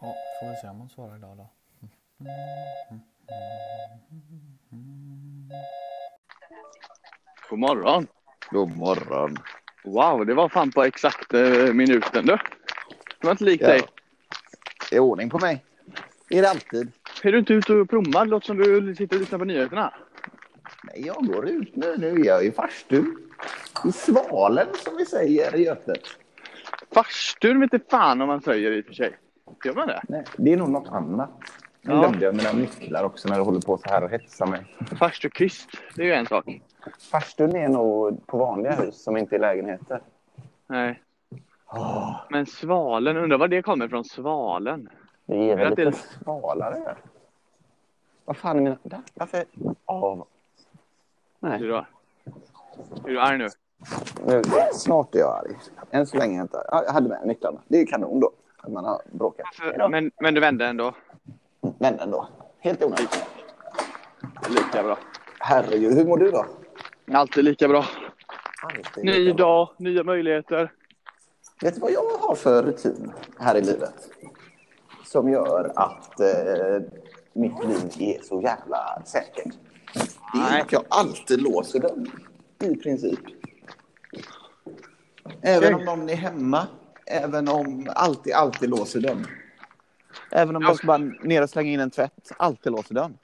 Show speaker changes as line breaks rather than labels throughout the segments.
Ja, får vi se om hon svarar idag då.
God morgon.
God morgon.
Wow, det var fan på exakt eh, minuten du. Det var inte likt
Ja.
dig.
Det är ordning på mig. Det är det alltid.
Är du inte ute och promenar? Det låter som du sitter och lyssnar på nyheterna.
Nej, jag går ut nu. Nu är jag i farstun. I svalen, som vi säger i Götet.
Farstun vet inte fan om man säger i och för sig. Gör man det?
Nej, det är nog något annat. Nu
Ja.
glömde jag mina nycklar också när du håller på så här och hetsar mig.
Farstukvist, det är ju en sak.
Farstun är nog på vanliga hus som inte är lägenheter.
Nej. Men svalen, undrar var det kommer från? Svalen?
Det är
Jag
väl lite
till-
svalare. Vad fan är mina... Där, Varför? Av.
Du
Nej,
då? Är du arg nu?
nu, snart är jag arg. Än så länge inte. Jag hade med nycklarna. Det är kanon då. Att man har bråkat. Hejdå.
Men, men du vände ändå?
Men ändå. Helt onödigt.
Lika bra.
Herregud, hur mår du då?
Alltid lika bra.
Alltid
Ny
lika bra.
dag, nya möjligheter.
Vet du vad jag har för rutin här i livet? Som gör att eh, mitt liv är så jävla säkert. Det är
Nej.
att jag alltid låser dörren. I princip. Även om någon är hemma. Även om alltid, alltid låser dörren. Även om
Ja.
jag ska bara ner och slänga in en tvätt. Alltid låser dörren.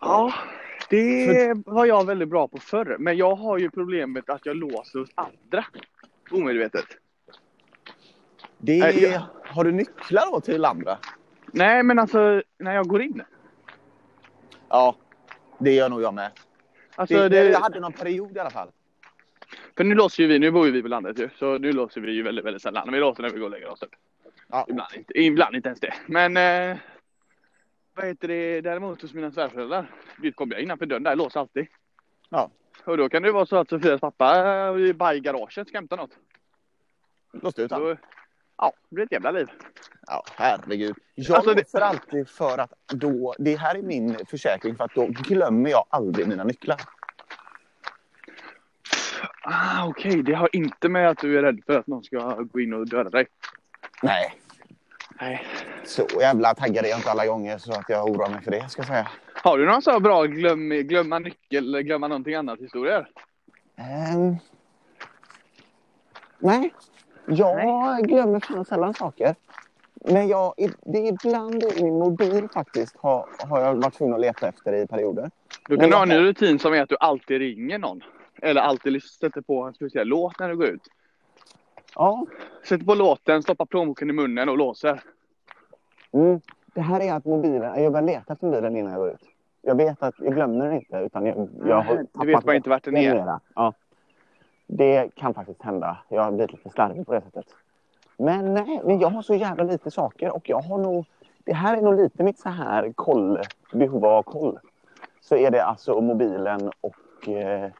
Ja, det var jag väldigt bra på förr. Men jag har ju problemet att jag låser hos andra. Omedvetet.
Det
Nej, jag-
Har du nycklar då till andra?
Nej, men alltså när jag går in.
Ja, det gör nog jag med.
Alltså,
det,
det,
jag hade någon period i alla fall.
för nu låser ju vi, nu bor ju vi på landet ju. Så nu låser vi ju väldigt, väldigt sällan. Vi låser när vi går och lägger oss. Typ.
Ja.
Ibland, inte, ibland inte ens det. Men eh, vad heter det däremot hos mina svärföräldrar. Dit kommer jag innanför dörren där, jag låser alltid.
Ja.
Och då kan det vara så att Sofias pappa är bara i garaget ska hämta något.
Låste ut han.
Då, ja, det blir ett jävla liv.
Ja, herregud. Jag
Alltså, det-
låser alltid för att då... Det här är min försäkring för att då glömmer jag aldrig mina nycklar.
Ah, Okej, det har inte med att du är rädd för att någon ska gå in och döda dig.
Nej,
Nej.
så jävla taggad är jag inte alla gånger så att jag oroar mig för det ska jag säga.
Har du några så här bra glöm, glömma nyckel, eller glömma någonting annat historier?
Ehm, Nej, jag glömmer fan sällan saker. Men jag, det är ibland i min mobil faktiskt har, har jag varit tvungen att leta efter i perioder.
Då kan
Men
du ha
jag
en ny rutin som är att du alltid ringer någon. Eller alltid lys- sätter på en speciell låt när du går ut.
Ja,
Sätter på låten, stoppar plånboken i munnen och låser.
Mm. Det här är att mobilen, jag börjar leta efter mobilen innan jag går ut. Jag vet att jag glömmer den inte utan jag, jag har
Nej, du
tappat
vet bara inte vart den är.
mera. Ja. Det kan faktiskt hända. Jag har blivit lite slarvig på det sättet. Men nej, men jag har så jävla lite saker och jag har nog... Det här är nog lite mitt så här koll, behov av koll. Så är det alltså mobilen och... Eh,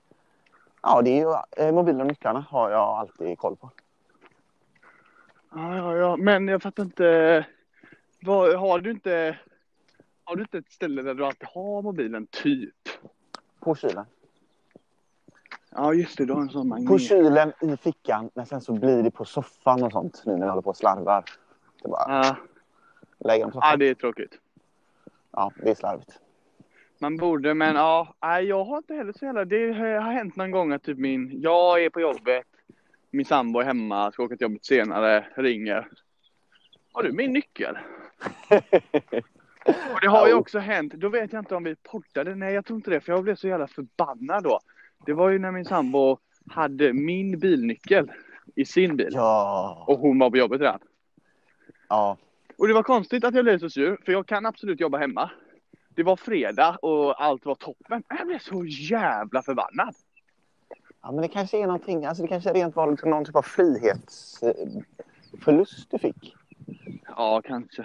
ja, det är ju, eh, mobilen och nycklarna har jag alltid koll på.
Ja, ja, ja. Men jag fattar inte. Vad, har du inte... Har du inte ett ställe där du alltid har mobilen, typ?
På kylen.
Ja, just det. Du har en sån
På
magnet.
kylen, i fickan, men sen så blir det på soffan och sånt nu när jag håller på och slarvar. Det är bara
Ja,
lägga dem på
ja,
soffan.
det är tråkigt.
Ja, det är slarvigt.
Man borde, men ja. Nej, jag har inte heller så jävla... Det har hänt någon gång att typ min... Jag är på jobbet. Min sambo är hemma, ska åka till jobbet senare, ringer. Har du min nyckel? Och det har ju
Au.
också hänt. Då vet jag inte om vi portade. Nej, jag tror inte det, för jag blev så jävla förbannad då. Det var ju när min sambo hade min bilnyckel i sin bil.
Ja,
Och hon var på jobbet redan.
ja.
Och det var konstigt att jag blev så sur, för jag kan absolut jobba hemma. Det var fredag och allt var toppen. Jag blev så jävla förbannad.
ja, men det kanske är någonting, alltså det kanske rent var liksom någon typ av frihetsförlust du fick.
Ja, kanske.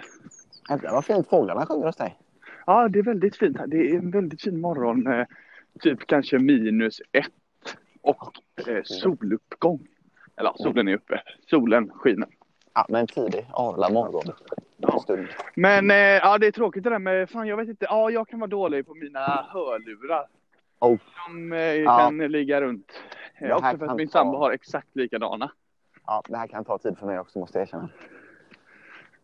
Jävlar vad fint fåglarna sjunger hos dig.
Ja, det är väldigt fint här. Det är en väldigt fin morgon. eh, Typ kanske minus ett och eh, soluppgång. Eller ja, solen är uppe. Solen skiner.
Ja, men tidig arla morgon.
Ja.
Stund.
Men eh, ja, det är tråkigt det där med, fan jag vet inte, ja jag kan vara dålig på mina hörlurar.
Oh.
De eh,
Ja.
kan ligga runt. Eh,
Det här
Också för att
kan
min
ta-
sambo har exakt likadana.
Ja, det här kan ta tid för mig också måste jag erkänna.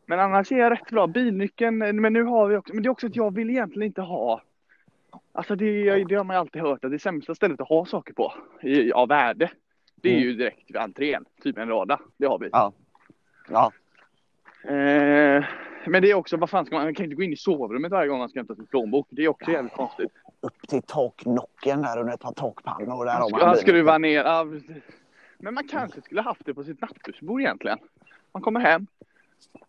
Men annars är jag rätt bra. Bilnyckeln, eh, men nu har vi också, men det är också att jag vill egentligen inte ha. Alltså det, det har man ju alltid hört att det sämsta stället att ha saker på i, av värde. Det är
Mm.
ju direkt vid entrén, typ en lada. Det har vi.
Ja. Ja.
Eh, men det är också, vad fan ska man, man kan inte gå in i sovrummet varje gång man ska hämta sin plånbok. Det är också jävligt konstigt.
Upp till taknocken där under ett par takpannor. Där har man
Han
bilen.
skruvar ner. Ja, precis. men man kanske skulle haft det på sitt nattduksbord egentligen. Man kommer hem,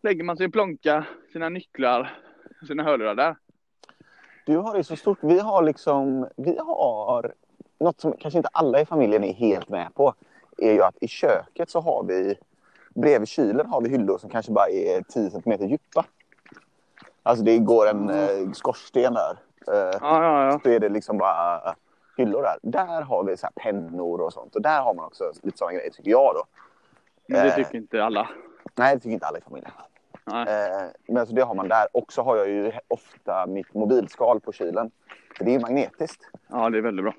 lägger man sin plånka, sina nycklar, sina hörlurar där.
Du har det så stort. Vi har liksom, vi har något som kanske inte alla i familjen är helt med på. är ju att i köket så har vi, bredvid kylen har vi hyllor som kanske bara är 10 centimeter djupa. Alltså det går en eh, skorsten där. Eh,
Ja, ja, ja.
så är det liksom bara hyllor där. Där har vi så här pennor och sånt. Och där har man också lite sådana grejer tycker jag då.
Men det
Eh.
tycker inte alla.
Nej, det tycker inte alla i familjen.
Nej.
Eh, men så det har man där. Och så har jag ju ofta mitt mobilskal på kylen. För det är ju magnetiskt.
Ja, det är väldigt bra.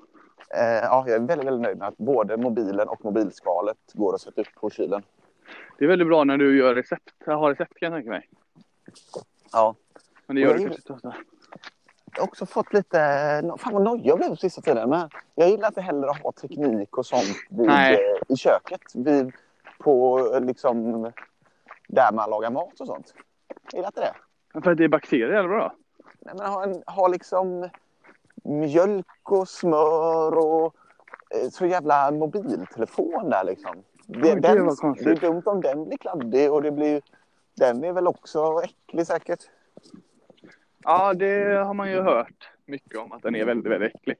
Eh, ja, jag är väldigt, väldigt nöjd med att både mobilen och mobilskalet går att sätta upp på kylen.
Det är väldigt bra när du gör recept. Jag har recept kan jag tänka mig.
Ja.
Men det gör du
Och det är-
kanske inte ofta.
Jag har också fått lite... no- Fan vad nojig jag blev på sista tiden. Men jag gillar inte heller att ha teknik och sånt vid,
Nej.
eh, i köket. Vid, på eh, liksom... Där man lagar mat och sånt. Jag gillar inte det.
Men För att det är bakterier, eller vadå?
Nej, men ha, en, ha liksom mjölk och smör och eh, så jävla mobiltelefon där liksom. Det,
gud,
den,
vad
det är
konstigt.
dumt om den blir kladdig och det blir... Den är väl också äcklig säkert.
Ja, det har man ju hört mycket om att den är väldigt, väldigt äcklig.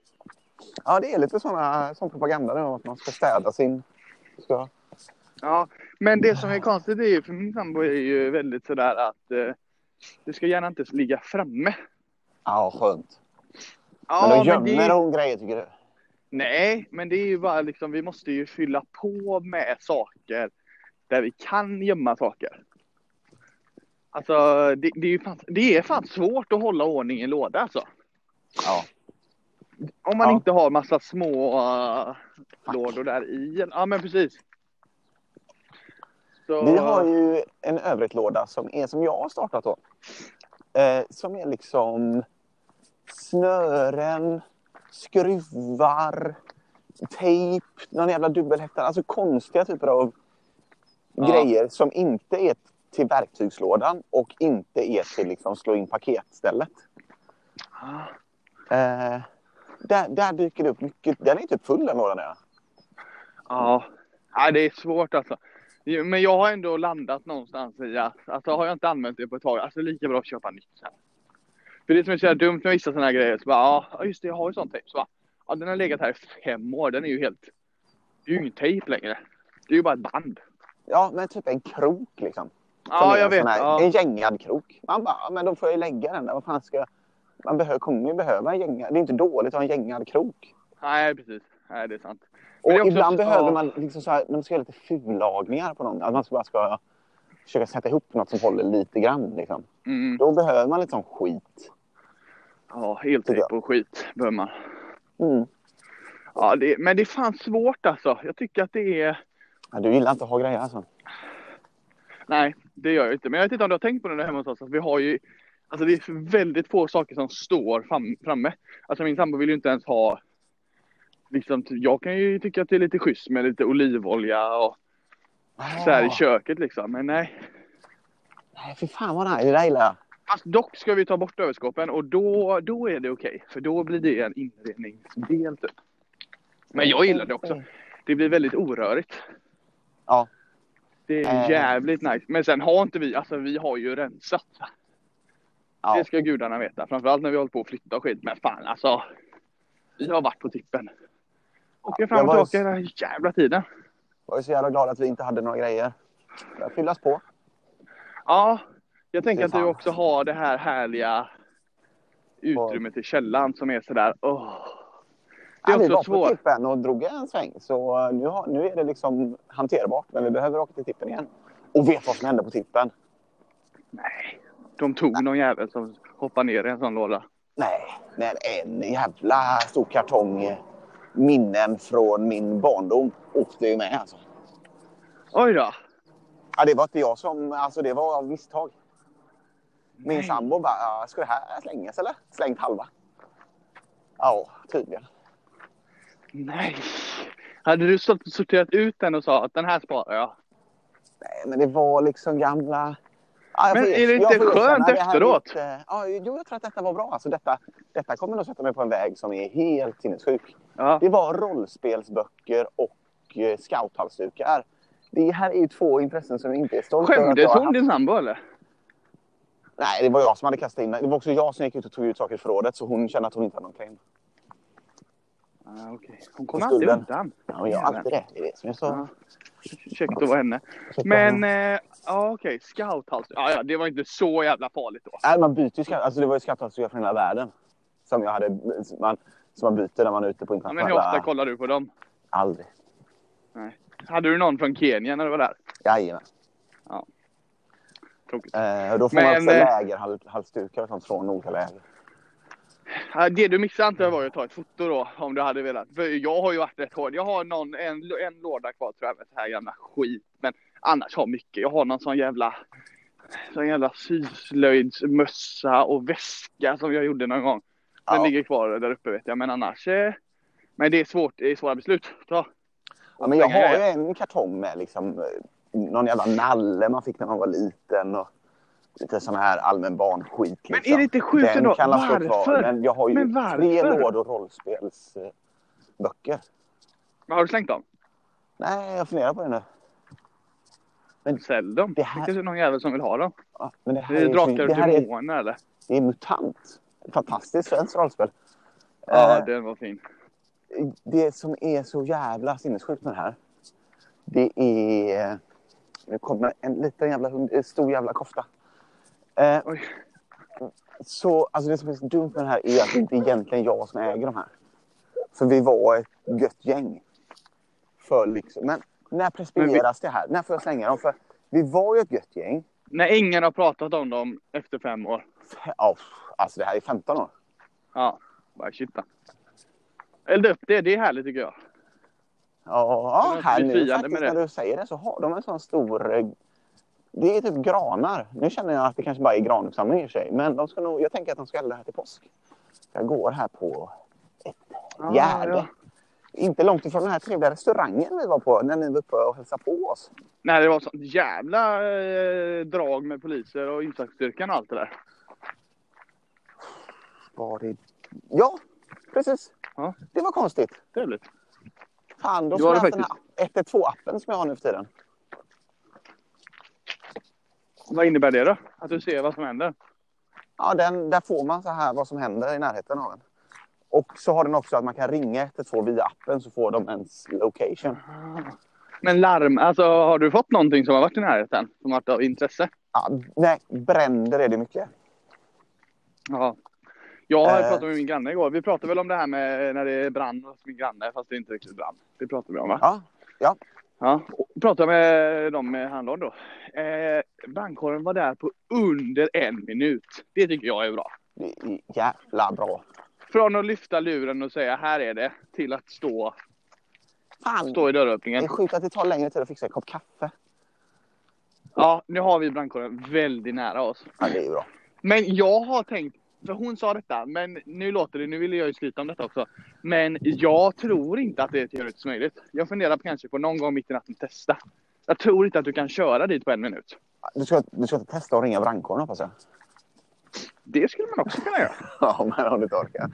Ja, det är lite såna, sån propaganda nu om att man ska städa sin... Ska...
Ja, men det som är konstigt är ju för min sambo är ju väldigt sådär att eh, du ska gärna inte ligga framme.
Ja, skönt.
Ja,
Men då gömmer
det,
hon grejer tycker du?
nej, men det är ju bara liksom, vi måste ju fylla på med saker där vi kan gömma saker. Alltså, det, det är ju fan, det är fan svårt att hålla ordning i en låda alltså.
Ja.
Om man
Ja.
inte har massa små eh, lådor där i. Ja, men precis. Så,
Vi har ju en övrigt-låda som, är, som jag har startat då. Eh, som är liksom snören, skruvar, tejp, någon jävla dubbelhäktare. Alltså konstiga typer av
Ja.
grejer som inte är till verktygslådan och inte är till liksom slå in paketstället.
Ah.
Eh, där, där dyker det upp mycket. Den är typ full den lådan. är.
Ja, Nej, det är svårt alltså. Jo, Men jag har ändå landat någonstans i att, alltså har jag inte använt det på ett tag, alltså det är lika bra att köpa nytt sen. För det som är så jävla dumt med vissa sådana här grejer, så bara, ja just det, jag har ju sån tejp. Så bara, ja den har legat här i fem år, den är ju helt, det är ju ingen tejp längre. Det är ju bara ett band.
Ja, men typ en krok liksom. Som
Ja,
är
jag
en
vet.
sån Här,
Ja.
En gängad krok. Man bara, "Ja, men då får jag ju lägga den där. Vad fan ska jag... Man behöver, kommer ju behöva en gängad. Det är inte dåligt att ha en gängad krok.
Nej, precis. Nej, det är sant.
Och
Men det är också-
ibland behöver
ja.
man liksom så här, när man ska göra lite fullagningar på någon. Att man ska bara ska försöka sätta ihop något som håller lite grann. Liksom.
Mm.
Då behöver man lite sån skit.
Ja, heltejp och skit behöver man.
Mm.
Ja, det, men det är fan svårt alltså. Jag tycker att det är,
Ja, du gillar inte att ha grejer alltså.
Nej, det gör jag inte. Men jag vet inte om du har tänkt på det där hemma hos oss. Att vi har ju, alltså det är väldigt få saker som står fram, framme. Alltså min sambo vill ju inte ens ha, liksom, jag kan ju tycka att det är lite schysst med lite olivolja och så här i
Ah,
köket liksom. Men nej.
nej, fy fan vad nice. Det där gillar jag.
Fast dock ska vi ta bort överskåpen och då, då är det okej. För då blir det en inredningsdel typ. Men jag gillar det också. Det blir väldigt orörigt.
Ja.
Det
Eh.
är jävligt nice. Men sen har inte vi, alltså vi har ju rensat.
Ja.
Det ska gudarna veta. Framförallt när vi håller på att flytta och skit. Men fan alltså. Vi har varit på tippen. Åker
Ja,
fram
jag
och
var-
tillbaka hela jävla tiden.
Jag är så jävla glad att vi inte hade några grejer. Det fyllas på.
Ja. Jag tänker
Fy
att du
fan.
också har det här härliga utrymmet i källaren som är sådär. Åh. Det är
Ja, vi
också
var på
svårt.
tippen och drog en sväng. Så nu, har, nu är det liksom hanterbart. Men vi behöver åka till tippen igen. Och vet vad som hände på tippen?
Nej. De tog någon jävel som hoppade ner i en sån låda.
Nej, nej, en jävla stor kartong eh, minnen från min barndom åkte ju med. Alltså.
Oj då.
Ja, det var inte jag som... Alltså det var av misstag. Min sambo bara, "Ja, ska det här slängas eller? Slängt halva. Ja, tydligen.
Nej! Hade du stått och sorterat ut den och sa att den här sparar jag?
Nej, men det var liksom gamla... Ja, jag
Men
får-
är det
jag
inte
får erkänna,
skönt
det här
efteråt?
gick, eh, Ja, jo, jag tror att detta var bra. Alltså, detta, detta kommer nog sätta mig på en väg som är helt sinnessjuk.
Ja.
Det var rollspelsböcker och eh, scouthalsdukar. Det här är ju två intressen som jag inte är stolt över att jag
Skämdes
har
hon, din sambo eller?
Nej, det var jag som hade kastat in Det var också jag som gick ut och tog ut saker i förrådet så hon kände att hon inte hade någon claim.
Ah, okay. Hon kommer
På
alltid
skulden.
undan.
Ja, men jag har alltid det. Det är det som är så...
Ja. Ursäkta att vara henne.
så
Men, eh, ja okej, scouthals. Ja, ja, det var inte så jävla farligt då.
Nej, man byter ju skatt. Alltså, det var ju skatteavtryck från hela världen. Som, jag hade, man, som man byter när man är ute på
Ja, men hur
internationella...
ofta kollar du på dem?
Aldrig.
Hade du någon från Kenya när du var där?
Jajamän.
Tråkigt.
Eh, och då får
Men,
man också
eh,
lägerhalsdukar och sånt från olika läger.
Ja, Det du missade inte
Mm.
var ju att ta ett foto då, om du hade velat. För jag har ju varit rätt hård. Jag har någon, en, en låda kvar tror jag med så här jävla skit. Men annars har mycket. Jag har någon sån jävla, sån jävla syslöjdsmössa och väska som jag gjorde någon gång. Den
Ja.
ligger kvar där uppe vet jag. Men annars, eh, men det är svårt, det är svåra beslut. Så.
Ja, men jag
slänga
har ju
det.
en kartong med liksom, eh, någon jävla nalle man fick när man var liten. Och lite sån här allmän barnskit.
Men
liksom.
är det inte sjukt
Den
ändå?
kan la stå
Varför?
kvar. Men jag har ju
Men
tre
varför?
lådor rollspelsböcker.
Har du slängt dem?
Nej, jag funderar på det nu.
Sälj dem.
Det
Det,
här-
kanske är någon jävel som vill ha dem.
Ja, Men det
Det
här
är
är, så-
drakar
det
och
här är
demoner eller?
Det är MUTANT. Fantastiskt svenskt rollspel.
Ja,
Eh,
den var fin.
det som är så jävla sinnessjukt med det här. Det är... Nu kommer en liten jävla hund, en stor jävla kofta. Eh,
Oj.
så, alltså det som är så dumt med det här är att det inte är egentligen jag som äger de här. För vi var ett gött gäng. För liksom, men när preskriberas det här? När får jag slänga dem? För vi var ju ett gött gäng.
När ingen har pratat om dem efter fem år.
Fe- ja, alltså det här är 15 år.
Ja, bara shitta. Elda upp det, det är härligt tycker jag.
Ja,
Det var
här
lite
nu
friande
faktiskt
med det.
när du säger det så har de en sån stor... eh, Det är typ granar. Nu känner jag att det kanske bara är granuppsamling i och för sig. Men de ska nog, jag tänker att de ska elda här till påsk. Jag går här på...
Ah,
Gärde.
ja.
Inte långt ifrån den här trevliga restaurangen vi var på när ni var uppe och hälsade på oss.
Nej, det var sånt jävla eh, drag med poliser och insatsstyrkan och allt det där.
Var det... Ja, precis.
Ja.
Det var konstigt.
Trevligt.
Fan, då
Det
ska
var
jag
det
ha den här 112-appen som jag har nu för tiden.
Vad innebär det då? Att du ser vad som händer?
Ja, den, där får man så här vad som händer i närheten av en. Och så har den också att man kan ringa 112 via appen så får de ens location.
Men larm, alltså har du fått någonting som har varit i närheten? Som har varit av intresse?
Ja, nej, bränder är det mycket.
Ja. Jag har
Eh.
pratat med min granne igår. Vi pratade väl om det här med när det är brann hos min granne, fast det är inte riktigt brann. Det pratade vi om va?
Ja,
Ja, och pratade med dem med handlaren då. Eh, brandkåren var där på under en minut. Det tycker jag är bra.
det är jävla bra.
Från att lyfta luren och säga här är det, till att stå,
Fan,
stå i
det
dörröppningen.
är sjukt att det tar längre tid att fixa en kopp kaffe.
Ja, nu har vi brandkåren väldigt nära oss.
Ja, det är ju bra.
Men jag har tänkt, för hon sa detta, men nu låter det, nu vill jag ju skryta om detta också. Men jag tror inte att det är teoretiskt möjligt. Jag funderar på kanske på någon gång mitt i natten testa. Jag tror inte att du kan köra dit på en minut.
Du ska, du ska inte testa att ringa brandkåren hoppas jag.
Det skulle man också kunna göra.
Ja, men om du inte orkar.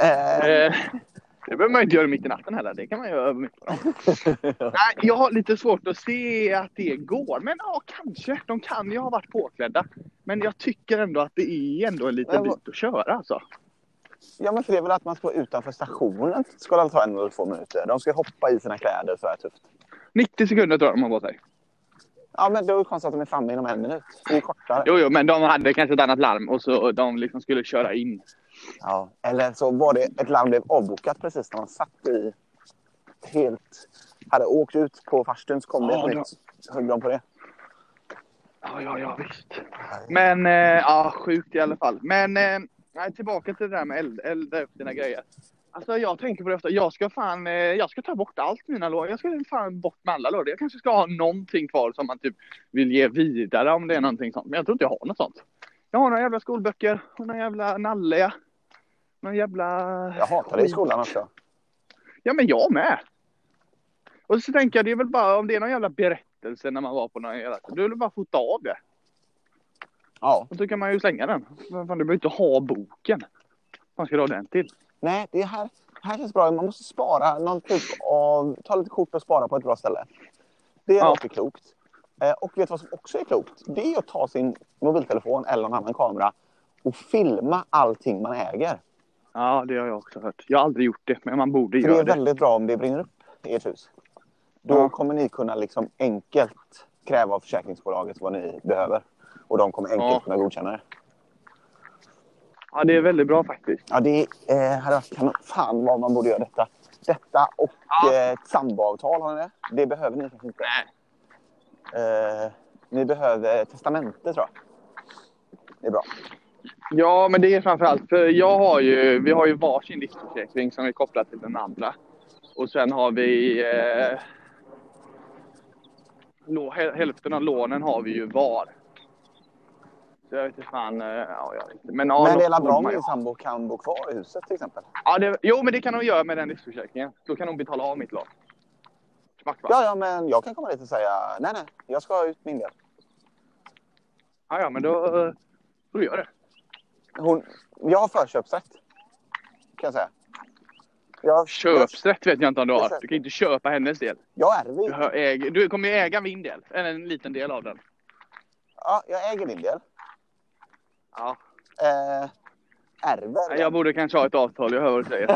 Eh,
Eh, det behöver man inte göra mitt i natten heller. Det kan man göra mitt på dagen. Nej, jag har lite svårt att se att det går. Men ja, kanske. De kan ju ha varit påklädda. Men jag tycker ändå att det är ändå en liten
Men vad-
bit att köra alltså.
ja, men för det är väl att man ska vara utanför stationen. Det ska väl ta en eller två minuter. De ska hoppa i sina kläder så här tufft.
90 sekunder tror jag de har på sig.
Ja, men då är det konstigt att de är framme inom en minut. Det är ju kortare.
Jo, jo, men de hade kanske ett annat larm och så och de liksom skulle köra in.
Ja, eller så var det ett larm blev avbokat precis när man satt i helt... Hade åkt ut på farstun så kom det
Ja,
ett
då-
nytt. Högg de på det?
Ja, ja, ja, visst. Men, eh, ja, sjukt i alla fall. Men, eh, nej, tillbaka till det där med eld, elda upp dina grejer. Alltså jag tänker på det efter. Jag ska fan, eh, jag ska ta bort allt mina lådor. Jag ska fan bort med alla lådor. Jag kanske ska ha någonting kvar som man typ vill ge vidare om det är någonting sånt. Men jag tror inte jag har något sånt. Jag har några jävla skolböcker och några jävla nalle. ja. Någon jävla...
Jag hatar det i skolan också.
Ja, men jag med. Och så tänker jag, det är väl bara om det är någon jävla berättelse när man var på någon jävla... Då är det bara att fota av det.
Ja.
Och då kan man ju slänga den. Men fan, du behöver inte ha boken. Vad ska du ha den till?
Nej, det här, här känns bra. Man måste spara någon typ av... Ta lite kort och spara på ett bra ställe. Det
Ja.
låter klokt. Eh, Och vet du vad som också är klokt? Det är att ta sin mobiltelefon eller någon annan kamera och filma allting man äger.
Ja, det har jag också hört. Jag har aldrig gjort det, men man borde
För det är
göra det.
väldigt bra om det brinner upp i ert hus. Då
Ja.
kommer ni kunna liksom enkelt kräva av försäkringsbolaget vad ni behöver. Och de kommer enkelt
Ja.
kunna godkänna det.
Ja, det är väldigt bra faktiskt.
Ja, det eh, hade varit kanon. Fan vad man borde göra detta. Detta och
Ja.
eh, ett samboavtal, har ni det? Det behöver ni kanske inte.
Nej.
Eh, ni behöver testamente, tror jag. Det är bra.
Ja, men det är framförallt för jag har ju, vi har ju varsin livsförsäkring som är kopplad till den andra. Och sen har vi... Eh, lå, häl- hälften av lånen har vi ju var. Så jag vet inte fan... Eh, ja, jag vet inte. Men, ja,
Men det är
något
väl bra
borde
om
man
din
ju-
sambo kan bo kvar i huset, till exempel?
ja, det, Jo, men det kan hon göra med den livsförsäkringen. Då kan hon betala av mitt lån. Smart va?
Ja, ja, men jag kan komma dit och säga nej, nej, jag ska ha ut min del.
Ja, ja, men då, eh, då gör det.
Hon, jag har förköpsrätt, kan jag säga. Jag,
Köpsrätt vet jag inte om du har. Du kan inte köpa hennes del.
Jag, jag ärver
Du,
ju.
har- äger, du kommer ju äga min del. Eller en liten del av den.
Ja, jag äger din del.
Ja.
Eh, ärver?
Nej, Jag borde kanske ha ett avtal. Jag hör vad du säger.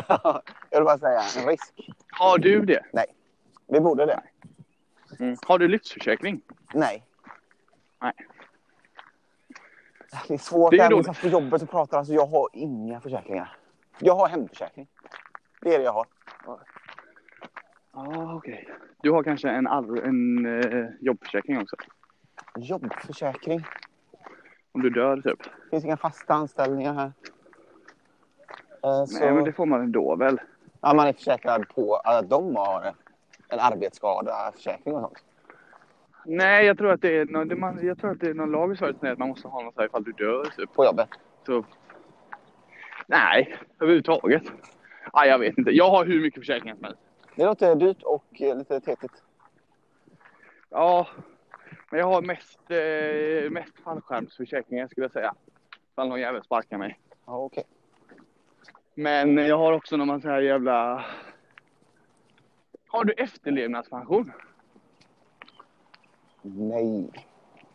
jag vill bara säga en risk.
Har du det?
Vi borde det.
Har du livsförsäkring?
Nej.
Nej.
Det är svårt.
Det är ju
även om
roligt.
jag satt på jobbet och pratade. Alltså, jag har inga försäkringar. Jag har hemförsäkring. Det är det jag har.
Ja, ah, okej. Du har kanske en, arv, en eh, jobbförsäkring också?
Jobbförsäkring.
Om du dör typ?
Det finns inga fasta anställningar här. Eh, så,
Nej, men det får man ändå väl?
ja, man är försäkrad på att de har en arbetsskadeförsäkring och sånt.
Nej, jag tror att det är någon, det, man, jag tror att det är någon lag i Sverige som säger att man måste ha något så här ifall du dör typ.
På jobbet.
Så... Nej, överhuvudtaget. Ah, jag vet inte. Jag har hur mycket försäkringar som helst.
Det låter dyrt och eh, lite tetigt.
Ja, men jag har mest, eh, mest fallskärmsförsäkringar skulle jag säga. Ifall någon jävel sparkar mig.
Ja, okej.
Men jag har också någon massa här jävla... Har du efterlevnadspension?
Nej,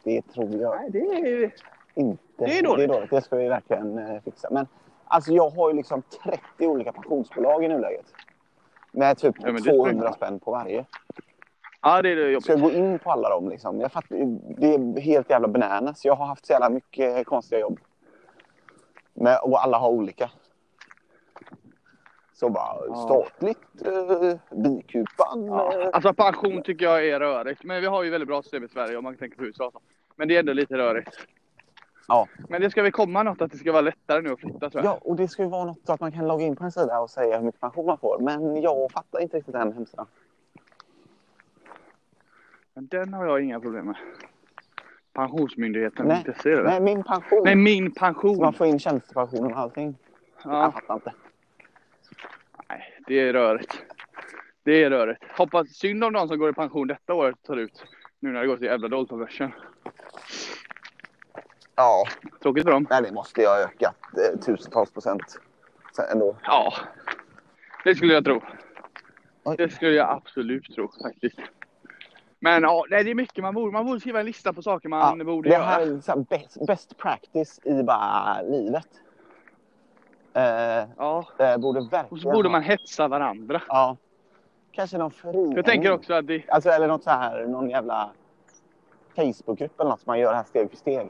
det tror jag
Nej, det är...
Inte.
Det är dåligt.
Det, är dåligt. det ska vi verkligen eh, fixa. Men alltså, jag har ju liksom 30 olika pensionsbolag i nuläget. Med typ
Ja, men det spelar
200
ingen
spänn på varje.
Ja, det är det
Ska
jobbigt.
jag gå in på alla dem? Liksom? Jag fattar, det är helt jävla bananas. Jag har haft så jävla mycket konstiga jobb. Men, och alla har olika. Så bara
Ja.
statligt, eh, bikupan.
Ja.
eh,
Alltså pension tycker jag är rörigt. Men vi har ju väldigt bra system i Sverige om man tänker på USA. och så. Men det är ändå lite rörigt.
Ja.
Men det ska väl komma något att det ska vara lättare nu att flytta tror jag.
ja, och det ska ju vara något så att man kan logga in på en sida och säga hur mycket pension man får. Men jag fattar inte riktigt den hemsidan.
Men den har jag inga problem med. Pensionsmyndigheten.
Nej.
Det ser du. Nej.
Nej, min pension.
Nej, min
Så man
pension.
får in tjänstepensionen och allting. Jag
Ja,
fattar inte.
nej, det är rörigt. Det är rörigt. Hoppas synd om de som går i pension detta året tar ut. Nu när det går så jävla dåligt på börsen.
Ja,
Tråkigt för dem.
nej, det måste ju ha ökat eh, tusentals procent. Sen ändå.
Ja, det skulle jag tro.
Oj.
Det skulle jag absolut tro faktiskt. Men ja, nej, det är mycket man borde. Man borde skriva en lista på saker man borde
det
göra.
här är så här best, best practice i bara livet. Eh,
Ja,
eh, borde verkligen...
och så borde
ha-
man hetsa varandra.
Ja. Kanske någon förening.
Jag tänker också att det...
Alltså, eller något så här, någon jävla Facebookgrupp eller något som man gör här steg för steg.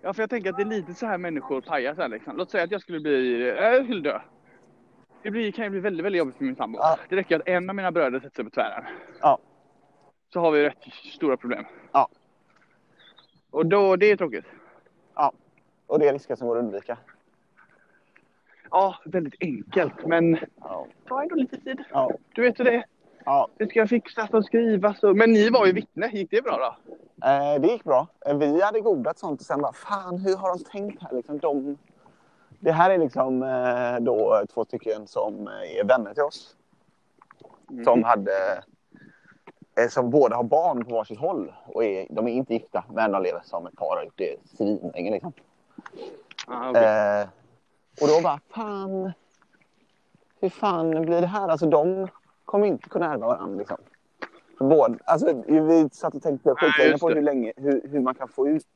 Ja, för jag tänker att det är lite så här människor pajar så här liksom. Låt säga att jag skulle bli... Äh, jag skulle dö. Det blir, kan ju bli väldigt, väldigt jobbigt för min sambo.
Ja.
Det räcker att en av mina bröder sätter sig på tvären.
Ja.
Så har vi rätt stora problem.
Ja.
Och då, det är tråkigt.
Och det är risker som går att undvika.
Ja, väldigt enkelt. Men
Ja.
ta ändå lite tid.
Ja.
Du vet hur det är.
Ja.
Det ska fixas och skrivas. Och... Men ni var ju vittne. Gick det bra då?
Eh, det gick bra. Eh, Vi hade godat sånt och sen bara, fan hur har de tänkt här? Liksom, de... Det här är liksom eh, då två stycken som eh, är vänner till oss. Som hade... eh, Som båda har barn på varsitt håll. Och är, de är inte gifta, men de lever som ett par och har gjort det svinlänge liksom.
Ah, okej.
Eh, och då bara, fan... Hur fan blir det här? Alltså de kommer inte kunna ärva varandra. Liksom. Både, alltså, vi satt och tänkte skitlänge
just
på
det.
hur, länge, hur, hur man kan få ut...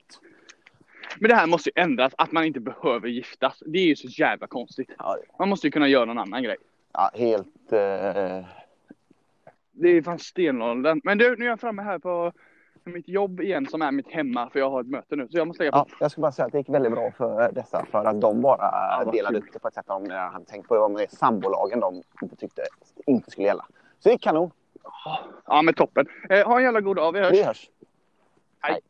Men det här måste ju ändras. Att man inte behöver giftas. Det är ju så jävla konstigt.
Ja,
Man måste ju kunna göra någon annan grej.
ja, helt... Eh,
Det är fan stenåldern. Men du, nu är jag framme här på mitt jobb igen som är mitt hemma. För jag har ett möte nu. Så jag måste lägga på.
ja, jag skulle bara säga att det gick väldigt bra för dessa. För att de bara
Ja, vad
delade
kul.
upp det på ett sätt de redan hade tänkt på. Det var med sambolagen de inte tyckte inte skulle gälla. Så det gick kanon.
Ja, men toppen. Eh, ha en jävla god dag. Vi hörs.
Vi hörs.
Hej.